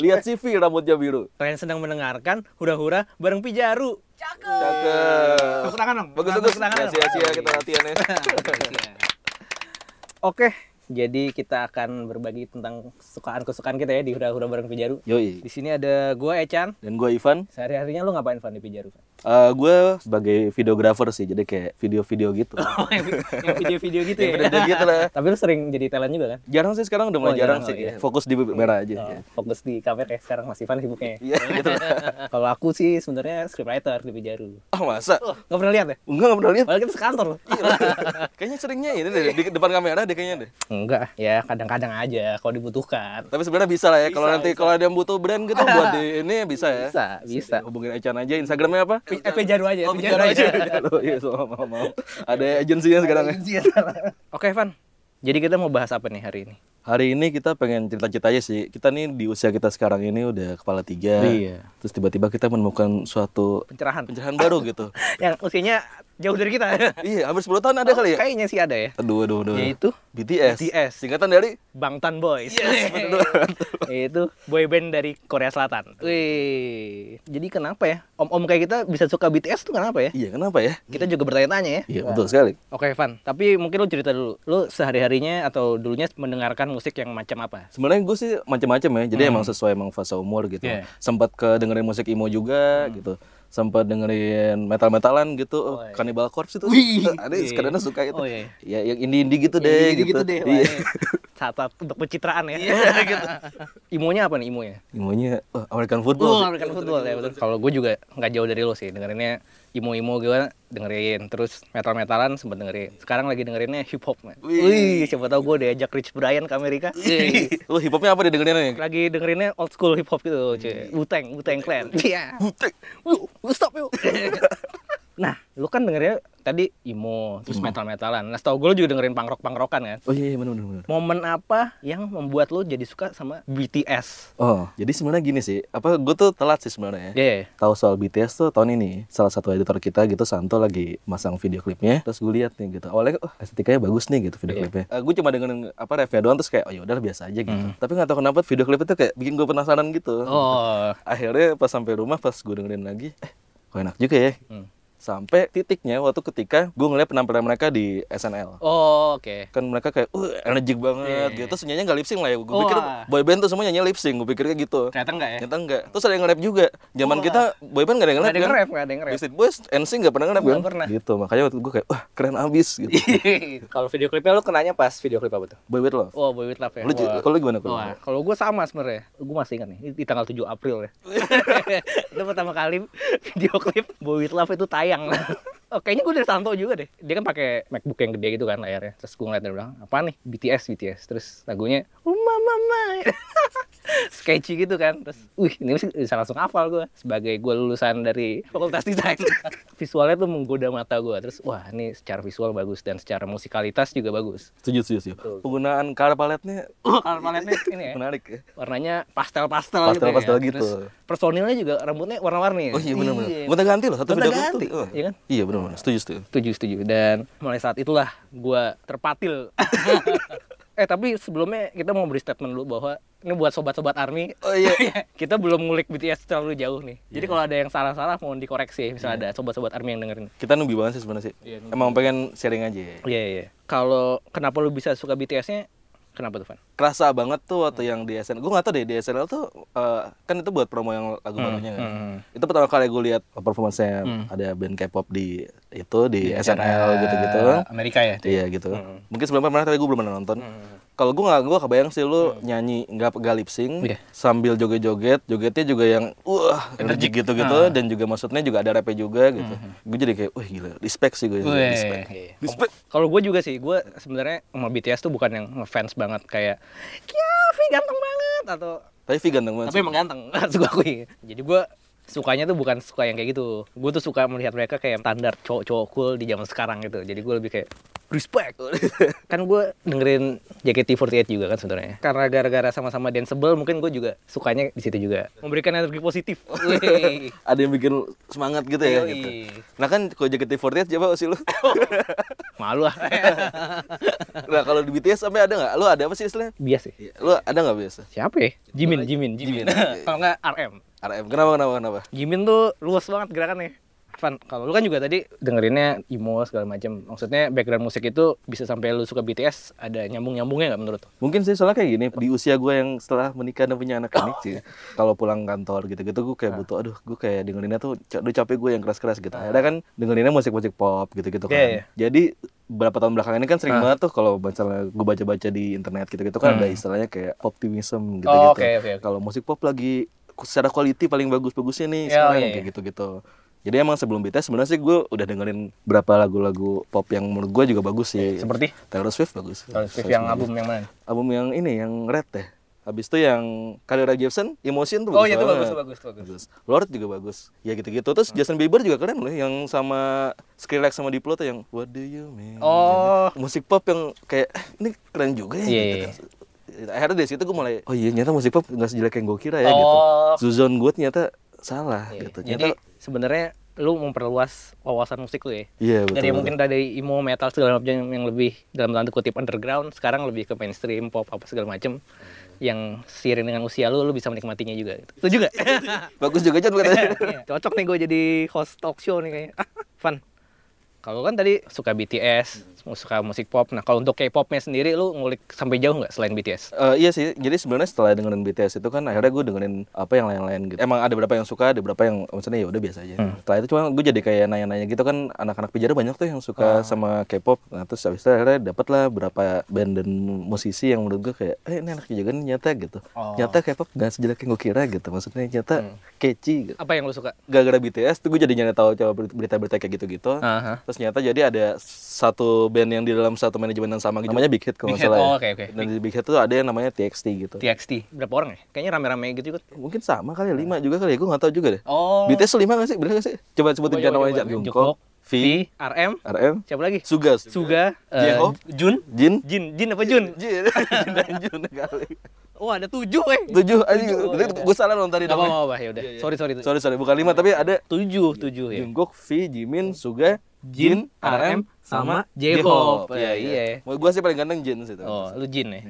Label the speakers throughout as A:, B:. A: Lihat CV rambutnya biru.
B: Kalian sedang mendengarkan hura-hura bareng Pijaru.
C: Cakep.
A: Cakep.
B: Tepuk tangan dong.
A: Bagus
B: Tepuk
A: bagus.
B: tangan
A: Ya
B: dong.
A: sia sia kita latihan ya.
B: Oke, jadi kita akan berbagi tentang kesukaan-kesukaan kita ya di hura-hura bareng Pijaru.
A: Yoi.
B: Di sini ada gua Echan.
A: Dan gue Ivan,
B: Sehari-harinya lu ngapain Van di Pijaru? Van?
A: Eh gue sebagai videographer sih, jadi kayak video-video gitu.
B: Oh, yang yang video-video gitu
A: Yang beda gitu lah.
B: Tapi lu sering jadi talent juga kan?
A: Jarang sih sekarang udah mulai
B: Oh,
A: jarang,
B: jarang,
A: sih,
B: oh, iya.
A: kayak fokus di merah aja.
B: Oh, fokus di kamera kayak sekarang masih Ivan sibuknya. ya.
A: Iya gitu lah.
B: Kalau aku sih sebenarnya scriptwriter di Pijaru.
A: Ah masa?
B: Gak pernah lihat ya?
A: Enggak nggak pernah lihat.
B: Padahal kita sekantor loh.
A: Kayaknya seringnya ini deh di depan kamera deh kayaknya deh.
B: Enggak, ya kadang-kadang aja kalau dibutuhkan.
A: Tapi sebenarnya bisa lah ya kalau nanti kalau ada yang butuh brand gitu buat di ini bisa ya.
B: Bisa, bisa.
A: Hubungin Echan aja Instagramnya apa?
B: Pi- Eh, Pijaru
A: Oh,
B: aja,
A: bicara aja. Lo iya so, mau mau. Ada agensinya sekarang ya.
B: Oke, Van. Jadi kita mau bahas apa nih hari ini?
A: Hari ini kita pengen cerita-cerita aja sih. Kita nih di usia kita sekarang ini udah kepala tiga.
B: Iya.
A: Terus tiba-tiba kita menemukan suatu
B: Pencerahan.
A: pencerahan baru gitu.
B: Yang usianya jauh dari kita.
A: iya, hampir 10 tahun ada kali ya?
B: Kayaknya sih ada ya.
A: Aduh, aduh, aduh.
B: Yaitu
A: BTS.
B: BTS.
A: Singkatan dari
B: Bangtan Boys.
A: Iya,
B: Itu boyband dari Korea Selatan. Wih. Jadi kenapa ya? Om-om kayak kita bisa suka BTS tuh kenapa ya?
A: Iya, kenapa ya?
B: Kita juga bertanya-tanya ya.
A: Iya, betul sekali.
B: Oke, Van. Tapi mungkin lu cerita dulu. Lu sehari-harinya atau dulunya mendengarkan musik yang macam apa?
A: Sebenarnya gue sih macam-macam ya. Jadi emang sesuai emang fase umur gitu.
B: Iya.
A: Sempat ke dengerin musik emo juga gitu. Sempat dengerin metal-metalan gitu. Oh,
B: iya.
A: Cannibal Corpse itu.
B: Wih.
A: Ada yang sekarang suka itu.
B: Oh, iya.
A: Ya yang indie-indie gitu deh gitu. Iya.
B: Saat-saat untuk pencitraan ya. Imonya apa nih imonya?
A: Imonya oh, American
B: Oh,
A: football. sih.
B: American football ya betul. Kalau gue juga nggak jauh dari lo sih dengerinnya imo-imo gue dengerin terus metal-metalan sempet dengerin. Sekarang lagi dengerinnya hip hop man. Wih, siapa tahu gue diajak Rich Brian ke Amerika.
A: iya, Lu hip hopnya apa didengerinnya?
B: lagi dengerinnya old school hip hop gitu, cuy. Wu-Tang, Wu-Tang Clan. Iya.
A: Butek.
B: Yuk, lu stop yuk. nah, lu kan dengerinnya tadi imo, terus metal-metalan. Nah, setahu gue lu juga dengerin punk rock-punk kan.
A: Oh iya, iya benar benar benar.
B: Momen apa yang membuat lo jadi suka sama BTS?
A: Oh, jadi sebenarnya gini sih, apa gue tuh telat sih sebenarnya.
B: Iya.
A: Tahu soal BTS tuh tahun ini, salah satu editor kita gitu Santo lagi masang video klipnya, terus gue lihat nih gitu. Awalnya oh, estetikanya bagus nih gitu video klipnya. gue cuma dengerin apa refnya doang terus kayak oh yaudah biasa aja gitu. Tapi nggak tahu kenapa video klipnya tuh kayak bikin gue penasaran gitu.
B: Oh,
A: Akhirnya pas sampai rumah pas gue dengerin lagi, eh kok enak juga ya.
B: hmm.
A: Sampai titiknya waktu ketika gue ngeliat penampilan mereka di SNL.
B: oh oke.
A: kan mereka kayak uh energik banget gitu terus nyanyinya nggak lip sync lah ya gue pikir
B: Wah.
A: boyband tuh semua nyanyi lip sync gue pikirnya gitu
B: Ternyata enggak ya?
A: ternyata enggak terus ada yang nge-rap juga zaman kita boyband nggak ada yang nge-rap
B: Nggak ada
A: kan
B: yang nge-rap, nggak ada yang nge-rap.
A: Backstreet Boys NSYNC nggak pernah nge-rap
B: Nggak
A: kan
B: pernah. Iya.
A: gitu makanya waktu itu gue kayak wah keren abis gitu
B: Kalau video klipnya lo kenanya pas video klip apa tuh?
A: boyband lo
B: Oh, Boy With Love ya.
A: Lu ju- kalau lu gimana, Kul?
B: Wah, kalau gue sama sebenarnya. Gue masih ingat nih, di- di tanggal 7 April ya. itu pertama kali video klip Boy With Love itu tayang. Oh, kayaknya gue dari Santo juga deh. Dia kan pakai MacBook yang gede gitu kan layarnya. Terus gue ngeliat dari belakang, apa nih? BTS, BTS. Terus lagunya, oh mama Sketchy gitu kan. Terus, wih ini mesti bisa langsung hafal gue. Sebagai gue lulusan dari Fakultas Desain. Visualnya tuh menggoda mata gue. Terus, wah ini secara visual bagus. Dan secara musikalitas juga bagus.
A: setuju setuju setuju penggunaan color paletnya
B: Wah, Oh, kalau paletnya ini ya
A: menarik ya
B: warnanya pastel-pastel gitu ya.
A: Pastel-pastel gitu.
B: Terus personilnya juga rambutnya warna-warni.
A: oh iya benar benar gonta ganti loh satu
B: Gonta
A: video klip
B: ganti,
A: tuh. Oh.
B: iya kan?
A: iya benar benar setuju setuju
B: Setuju, setuju. Dan mulai saat itulah gua terpatil. eh tapi sebelumnya kita mau beri statement dulu bahwa ini buat sobat-sobat ARMY
A: oh iya
B: kita belum ngulik BTS terlalu jauh nih. Jadi kalau ada yang salah-salah mohon dikoreksi. ya,
A: Iya.
B: Misalnya ada sobat-sobat ARMY yang dengerin.
A: kita nubi banget sih sebenarnya sih emang pengen sharing aja ya.
B: Iya, iya. Kalau kenapa lu bisa suka BTS-nya? Kenapa tuh, Van?
A: kerasa banget tuh waktu yang di SNL. Gue gak tau deh di SNL tuh eh, kan itu buat promo yang lagu barunya
B: Hmm,
A: kan. Itu pertama kali gue lihat performance-nya ada band K-pop di itu di, SNL gitu-gitu.
B: Amerika ya.
A: Iya gitu. Mungkin sebelumnya pernah tapi gue belum pernah nonton. Kalau gue gak, gue kebayang sih lu nyanyi nggak gak lip sync
B: Iya.
A: sambil joget-joget, jogetnya juga yang wah energik gitu-gitu dan juga maksudnya juga ada rapnya juga gitu. Gue jadi kayak wah gila, respect sih gue. Iya, Respect. Respect.
B: Iya. Kalau gue juga sih, gue sebenarnya sama BTS tuh bukan yang ngefans banget kayak Kia, V ganteng banget atau
A: Tapi V ganteng banget.
B: tapi emang ganteng harus gue akui. iya. Jadi gue sukanya tuh bukan suka yang kayak gitu gue tuh suka melihat mereka kayak standar cowok-cowok cool di zaman sekarang gitu jadi gue lebih kayak respect kan gue dengerin JKT48 juga kan sebenarnya karena gara-gara sama-sama danceable mungkin gue juga sukanya di situ juga memberikan energi positif Wey.
A: Ada yang bikin semangat gitu ya
B: Yoi.
A: gitu. Nah kan kalau JKT48 coba sih lu.
B: malu lah
A: nah kalau di BTS sampai ada nggak? Lu ada apa sih istilahnya?
B: bias sih
A: Iya, Lu ada nggak biasa?
B: siapa ya Jimin Jimin
A: Jimin.
B: Jimin kalau nggak RM
A: RM kenapa kenapa kenapa?
B: Jimin tuh luas banget gerakannya. Fan, kalau lu kan juga tadi dengerinnya emo segala macam. Maksudnya background musik itu bisa sampai lu suka BTS ada nyambung-nyambungnya nggak menurut lu?
A: Mungkin sih soalnya kayak gini di usia gue yang setelah menikah dan punya anak
B: Oh.
A: ini sih. Kalau pulang kantor gitu-gitu gue
B: Nah.
A: kayak butuh aduh gue kayak dengerinnya tuh ca- aduh capek gue yang keras-keras gitu. Akhirnya kan dengerinnya musik-musik pop gitu-gitu kan.
B: Iya, Nah. iya.
A: Jadi beberapa tahun belakangan ini kan sering banget tuh kalau misalnya gue baca-baca di internet gitu-gitu kan ada istilahnya kayak optimism gitu-gitu.
B: Hmm. Oh, oke, oke, oke.
A: Kalau musik pop lagi secara quality paling bagus-bagusnya nih
B: Iya,
A: sekarang
B: iya,
A: kayak
B: iya.
A: gitu-gitu. Jadi emang sebelum BTS sebenarnya sih gue udah dengerin berapa lagu-lagu pop yang menurut gue juga bagus sih.
B: Seperti
A: Taylor Swift bagus.
B: Taylor Swift yang album yang mana?
A: album yang ini yang Red deh. Habis itu yang Carrera Jepsen, Emotion tuh bagus
B: Oh, iya, itu
A: banget.
B: bagus, bagus, bagus. Hmm.
A: Lord juga bagus. Ya gitu-gitu. Terus Justin Bieber juga keren loh yang sama Skrillex sama Diplo tuh yang What do you mean?
B: Oh.
A: Musik pop yang kayak "Eh, ini keren juga ya.
B: Iya,
A: gitu
B: iya,
A: kan. Akhirnya dari situ gue mulai oh iya nyata musik pop nggak sejelek yang gue kira ya
B: Oh.
A: gitu. Zuzon gue ternyata salah
B: Iya.
A: gitu.
B: Jadi
A: Nyata-
B: sebenarnya lu memperluas wawasan musik lu ya.
A: iya betul.
B: Dari
A: betul.
B: mungkin tadi emo, metal segala macam yang lebih dalam tanda kutip underground, sekarang lebih ke mainstream, pop apa segala macam yang seiring dengan usia lu lu bisa menikmatinya juga. Gitu. Setuju nggak? Iya.
A: bagus juga Chan katanya.
B: Cocok nih gue jadi host talk show nih kayaknya. Ah, fun. Kalau kan tadi suka BTS,
A: Hmm.
B: suka musik pop. Nah, kalau untuk K-popnya sendiri lu ngulik sampai jauh nggak selain BTS?
A: Eh, iya sih, jadi sebenarnya setelah dengerin BTS itu kan akhirnya gue dengerin apa yang lain-lain gitu. Emang ada beberapa yang suka, ada beberapa yang maksudnya ya udah biasa aja. Setelah itu cuma gue jadi kayak nanya-nanya gitu kan anak-anak penjara banyak tuh yang suka sama K-pop. Nah terus habis itu akhirnya dapet lah berapa band dan musisi yang menurut gue kayak eh ini enak juga nih nyata gitu.
B: Oh.
A: Nyata K-pop gak sejelek yang gue kira gitu. Maksudnya nyata catchy gitu.
B: Apa yang lu suka?
A: Gara-gara BTS tuh gue jadi nyari tahu coba berita-berita kayak gitu-gitu.
B: Aha.
A: Terus ternyata jadi ada satu band yang di dalam satu manajemen yang sama gitu. Namanya Big Hit kalau
B: Big
A: nggak
B: Hit,
A: salah. ya.
B: oh, oke, oke.
A: Dan di Big Hit tuh ada yang namanya TXT gitu.
B: TXT. Berapa orang ya? Kayaknya rame-rame gitu ikut.
A: Mungkin sama kali ya, lima juga kali ya, gue gak tau juga deh.
B: Oh.
A: BTS lima gak sih? Bener gak sih? Coba sebutin
B: Coba,
A: kan
B: Oh, coba,
A: namanya
B: coba.
A: Jang Jungkook,
B: Jungkook,
A: V,
B: V, RM,
A: RM,
B: siapa lagi?
A: Sugas,
B: Suga, eh,
A: J-Hope,
B: Jun,
A: Jin,
B: Jin, Jin apa Jun?
A: Jin, Jin dan Jun kali.
B: Oh ada tujuh eh.
A: Tujuh, anjing, gue salah nonton tadi
B: Gak
A: namanya.
B: apa-apa, ya udah. Sorry, sorry.
A: Sorry, sorry, bukan lima, tapi ada
B: Tujuh, tujuh ya.
A: Jungkook, V, Jimin, Suga, Jin, RM, sama
B: J-Hope.
A: J-Hope.
B: Ya, iya.
A: Gue sih paling ganteng Jin sih. tuh.
B: Oh, lu Jin ya?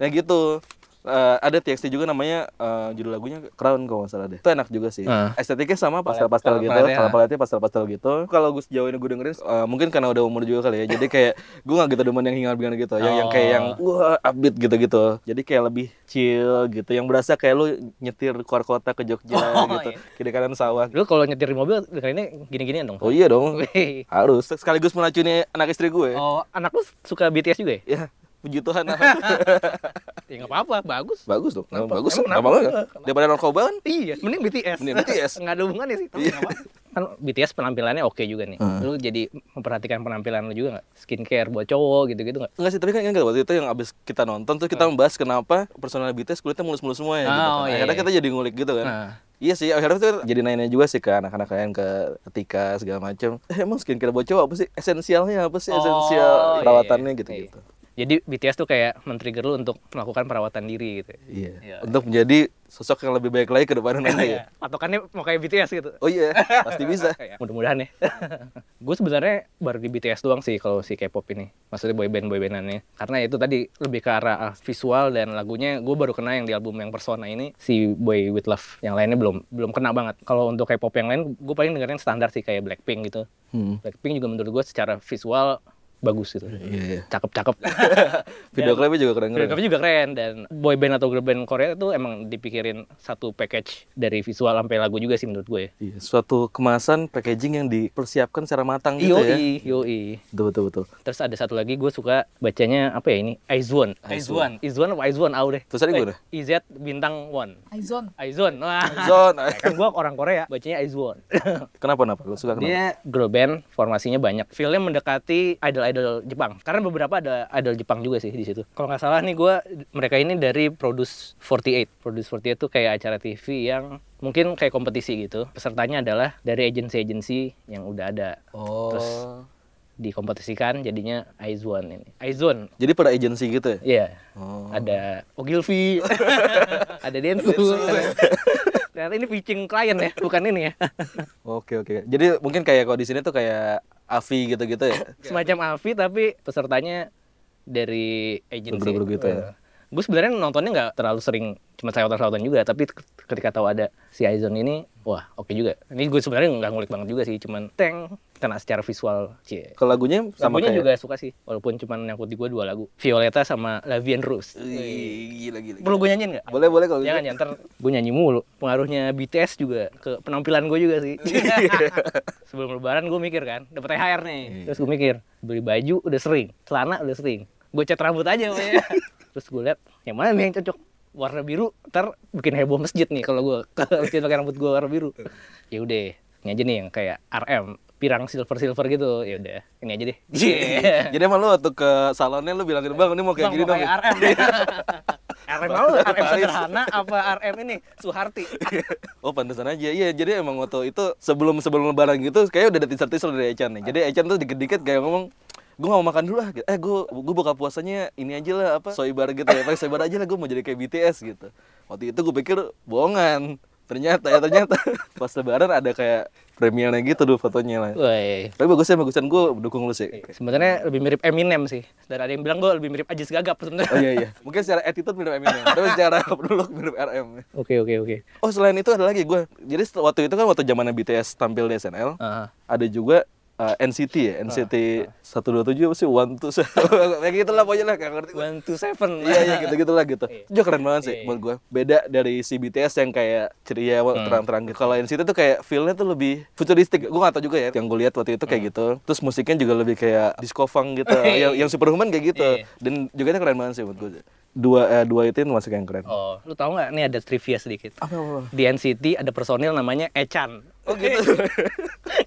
A: Nah gitu. Eh, ada TXT juga namanya eh, judul lagunya Crown kalau nggak salah deh. Itu enak juga sih.
B: Ah.
A: Estetiknya sama pastel-pastel
B: Palet-
A: gitu,
B: paletnya.
A: palet-paletnya pastel-pastel gitu. Kalau gue sejauh ini gue dengerin eh, mungkin karena udah umur juga kali ya. Jadi kayak gue nggak gitu demen yang hingar-bingar gitu, yang, yang kayak yang wah upbeat gitu-gitu. Jadi kayak lebih chill gitu. Yang berasa kayak lu nyetir keluar kota ke Jogja gitu, kiri kanan sawah.
B: Lu kalau nyetir mobil dengerinnya gini-ginian dong.
A: Oh iya dong.
B: Wih.
A: Harus sekaligus meracuni anak istri gue.
B: Oh, anak lu suka BTS juga ya?
A: Ya, puji Tuhan.
B: Ya nggak apa-apa, bagus.
A: bagus dong.
B: Kenapa?
A: Bagus.
B: Emang
A: Kenapa
B: kenapa?
A: enggak? Daripada narkoba kan?
B: Iya, mending BTS.
A: Mending BTS.
B: Nggak ada hubungannya sih, tapi nggak apa-apa. Kan BTS penampilannya oke juga nih. Lu jadi memperhatikan penampilan lu juga nggak? Skincare buat cowok gitu-gitu nggak?
A: Enggak sih, tapi kan ingat nggak waktu itu yang abis kita nonton tuh kita membahas kenapa personal BTS kulitnya mulus-mulus semua ya
B: Ah,
A: gitu
B: oh,
A: kan.
B: iya,
A: Akhirnya
B: iya.
A: kita jadi ngulik gitu kan.
B: Nah.
A: Iya sih, akhirnya tuh jadi nanya juga sih ke anak-anak lain, ke Tika segala macam. Eh, emang skincare buat cowok apa sih? Esensialnya apa sih?
B: Oh,
A: Esensial
B: iya,
A: perawatannya
B: iya.
A: gitu-gitu.
B: Jadi BTS tuh kayak men-trigger lu untuk melakukan perawatan diri gitu.
A: Iya.
B: Iya.
A: Untuk menjadi sosok yang lebih baik lagi ke depannya nanti ya.
B: Patokannya kan mau kayak BTS gitu.
A: Oh iya, pasti bisa.
B: Kayak mudah-mudahan ya. gue sebenarnya baru di BTS doang sih kalau si K-pop ini. Maksudnya boyband boybandannya. Karena itu tadi lebih ke arah ah, visual dan lagunya gue baru kena yang di album yang Persona ini si Boy With Love. Yang lainnya belum belum kena banget. Kalau untuk K-pop yang lain gue paling dengerin standar sih kayak Blackpink gitu.
A: Hmm.
B: Blackpink juga menurut gue secara visual bagus gitu.
A: Iya, iya.
B: Cakep-cakep. Iya.
A: Video klipnya juga keren-keren.
B: Tapi juga keren dan boy band atau girl band Korea itu emang dipikirin satu package dari visual sampai lagu juga sih menurut ya. gue.
A: Iya, suatu kemasan packaging yang dipersiapkan secara matang gitu ya.
B: Yoi, yoi.
A: Betul, betul, betul.
B: Terus ada satu lagi gue suka bacanya apa ya ini? Aizwan.
A: Aizwan.
B: Aizwan apa Aizwan Au deh.
A: Tulisannya gimana?
B: Eh, IZ bintang one.
C: Aizon.
B: Aizwan. Wah.
A: Zon,
B: Kan gue orang Korea, bacanya Aizwan.
A: kenapa kenapa? Lu suka kenapa?
B: Dia girl band, formasinya banyak. Feel-nya mendekati idol-idol idol Jepang. Karena beberapa ada idol Jepang juga sih di situ. Kalau nggak salah nih gue mereka ini dari Produce 48. Produce 48 tuh kayak acara TV yang mungkin kayak kompetisi gitu. Pesertanya adalah dari agensi-agensi yang udah ada
A: Oh.
B: Terus dikompetisikan jadinya Aizwan ini. Aizwan.
A: Jadi pada agensi gitu ya?
B: Iya.
A: Oh.
B: Ada Ogilvy. ada Densu. Ternyata ini pitching klien ya, bukan ini ya.
A: Oke oke. Jadi mungkin kayak kalau di sini tuh kayak Avi gitu-gitu ya.
B: semacam Avi tapi pesertanya dari agensi.
A: Grup-grup gitu ya.
B: Gue sebenarnya nontonnya nggak terlalu sering, cuma sawatan-sawatan juga. Tapi ke- ketika tahu ada si Aizon ini, wah oke juga. Ini gue sebenarnya nggak ngulik banget juga sih, cuman teng kena secara visual. Cie.
A: Kalau lagunya sama kayak
B: Lagunya juga suka sih, walaupun cuma nyangkut di gue dua lagu. Violeta sama Lavian Rose.
A: Ih, gila gila.
B: Perlu gue nyanyiin nggak?
A: Boleh boleh kalau gitu.
B: Jangan ya, ntar gue nyanyi mulu. Pengaruhnya BTS juga ke penampilan gue juga sih. Sebelum lebaran gue mikir kan, dapet THR nih. Terus gue mikir, beli baju udah sering, celana udah sering. Gue cat rambut aja pokoknya. Terus gue lihat, yang mana nih yang cocok? Warna biru, ntar bikin heboh masjid nih kalau gue ke masjid pakai rambut gue warna biru. Ya udah, ini aja nih yang kayak RM, pirang silver silver gitu. Ya udah, ini aja deh.
A: Jadi emang lu waktu ke salonnya lu bilangin bang ini mau kayak
B: Bang,
A: gini
B: mau
A: dong.
B: kayak RM. RM mau RM sederhana apa RM ini Suharti.
A: Oh pantesan aja. Iya jadi emang waktu itu sebelum sebelum lebaran gitu kayak udah ada teaser teaser dari Echan nih. Jadi Echan tuh dikit dikit kayak ngomong gue mau makan dulu ah gitu. eh gue gue buka puasanya ini aja lah apa soibar gitu ya pakai soibar aja lah gue mau jadi kayak BTS gitu waktu itu gue pikir bohongan ternyata ya ternyata pas lebaran ada kayak premiernya gitu dulu fotonya lah
B: Woi.
A: Tapi bagus ya, bagusan gue dukung lu sih.
B: Iya. Sebenarnya lebih mirip Eminem sih. Dan ada yang bilang gue lebih mirip Ajis Gagap
A: Oh
B: sebenarnya.
A: iya iya. Mungkin secara attitude mirip Eminem, tapi secara look mirip RM.
B: Oke oke oke.
A: Oh selain itu ada lagi gue. Jadi setel- waktu itu kan waktu zamannya BTS tampil di SNL,
B: Ah.
A: ada juga eh, NCT ya, NCT 127 apa sih? One Two Seven.
B: Ya
A: Kayak gitu lah pokoknya lah, gak ngerti. gua.
B: One two seven.
A: Iya iya gitu gitu lah gitu. Itu juga keren banget sih
B: Iya, Hmm.
A: buat gue. Beda dari si BTS yang kayak ceria terang-terang. gitu. Kalau NCT tuh kayak feel-nya tuh lebih futuristik. Gue gak tau juga ya. Yang gue lihat waktu itu
B: Hmm.
A: kayak gitu. Terus musiknya juga lebih kayak disco funk gitu. yang, yang superhuman kayak gitu.
B: Iya.
A: Dan juga itu keren banget sih buat gue. Dua eh, dua itu masuk yang keren.
B: Oh, lu tahu nggak? Nih ada trivia sedikit.
A: Apa apa? apa?
B: Di NCT ada personil namanya Echan. Oh gitu.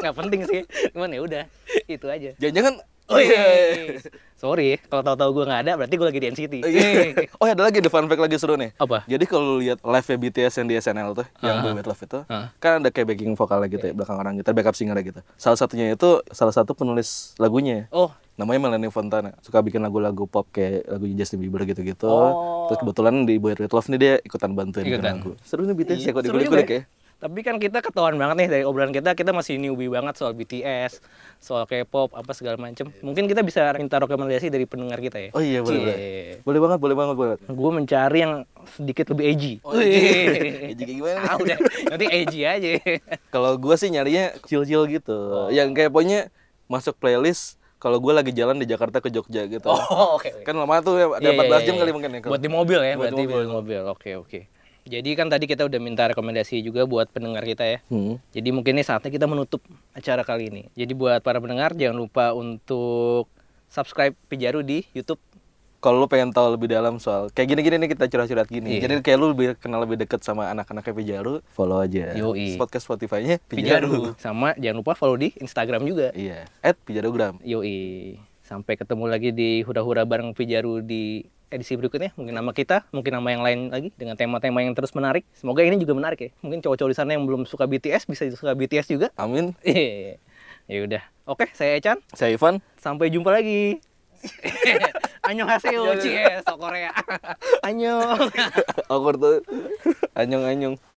B: Gak penting sih. Cuman ya udah, itu aja.
A: Jangan-jangan
B: Oh iya. Sorry, kalau tahu-tahu gue nggak ada, berarti gue lagi di NCT.
A: Eh. Oh, iya. Oh, ada lagi ada fun fact lagi seru nih.
B: Apa? Ah.
A: Jadi kalau lu lihat live BTS yang di SNL tuh, yang Boy With Love itu, kan ada kayak backing vokalnya gitu ya,
B: Iya.
A: belakang orang gitu, backup singer gitu. Salah satunya itu salah satu penulis lagunya.
B: Oh,
A: Namanya Melanie Fontana, suka bikin lagu-lagu pop kayak lagu Justin Bieber gitu-gitu.
B: Oh.
A: Terus kebetulan di Boy With Love nih dia ikutan bantuin bikin
B: Ikutan.
A: lagu. Seru nih BTS ya kalau
B: Seru
A: dikulik-kulik
B: juga
A: ya.
B: Tapi kan kita ketahuan banget nih dari obrolan kita, kita masih newbie banget soal BTS, soal K-pop, apa segala macem. Mungkin kita bisa minta rekomendasi dari pendengar kita ya.
A: Oh iya boleh boleh.
B: Cie.
A: Boleh banget, boleh banget, boleh. banget.
B: Gue mencari yang sedikit lebih edgy.
A: Oh, edgy.
B: Wih.
A: Edgy kayak gimana?
B: Ah, udah, nanti edgy aja.
A: Kalau gue sih nyarinya chill-chill gitu.
B: Oh.
A: Yang kayak pokoknya masuk playlist kalau gue lagi jalan di Jakarta ke Jogja gitu.
B: Oh, oke.
A: Kan lama tuh ya, ada 14
B: Iya, iya,
A: jam
B: iya.
A: kali mungkin ya. kalau-
B: Buat di mobil ya,
A: Buat di
B: berarti buat di mobil. Oke, oke. Jadi kan tadi kita udah minta rekomendasi juga buat pendengar kita ya.
A: Hmm.
B: Jadi mungkin ini saatnya kita menutup acara kali ini. Jadi buat para pendengar jangan lupa untuk subscribe Pijaru di YouTube.
A: Kalau lu pengen tahu lebih dalam soal kayak gini-gini nih kita curhat-curhat gini.
B: Iya.
A: Jadi kayak lu lebih kenal lebih deket sama anak-anaknya Pijaru, follow aja.
B: Yoi.
A: Podcast Spotify-nya Pijaru.
B: Pijaru. Sama jangan lupa follow di Instagram juga.
A: Iya, at Pijarugram.
B: Yoi. Sampai ketemu lagi di hura-hura bareng Pijaru di edisi berikutnya. Mungkin nama kita, mungkin nama yang lain lagi dengan tema-tema yang terus menarik. Semoga ini juga menarik ya. Mungkin cowok-cowok di sana yang belum suka BTS bisa suka BTS juga. Iya,
A: Amin.
B: ya udah. Oke, saya Echan.
A: Saya Ivan.
B: Sampai jumpa lagi. Annyeonghaseyo, cie, sok Korea. Annyeong.
A: Awkward tuh. Anyong-anyong.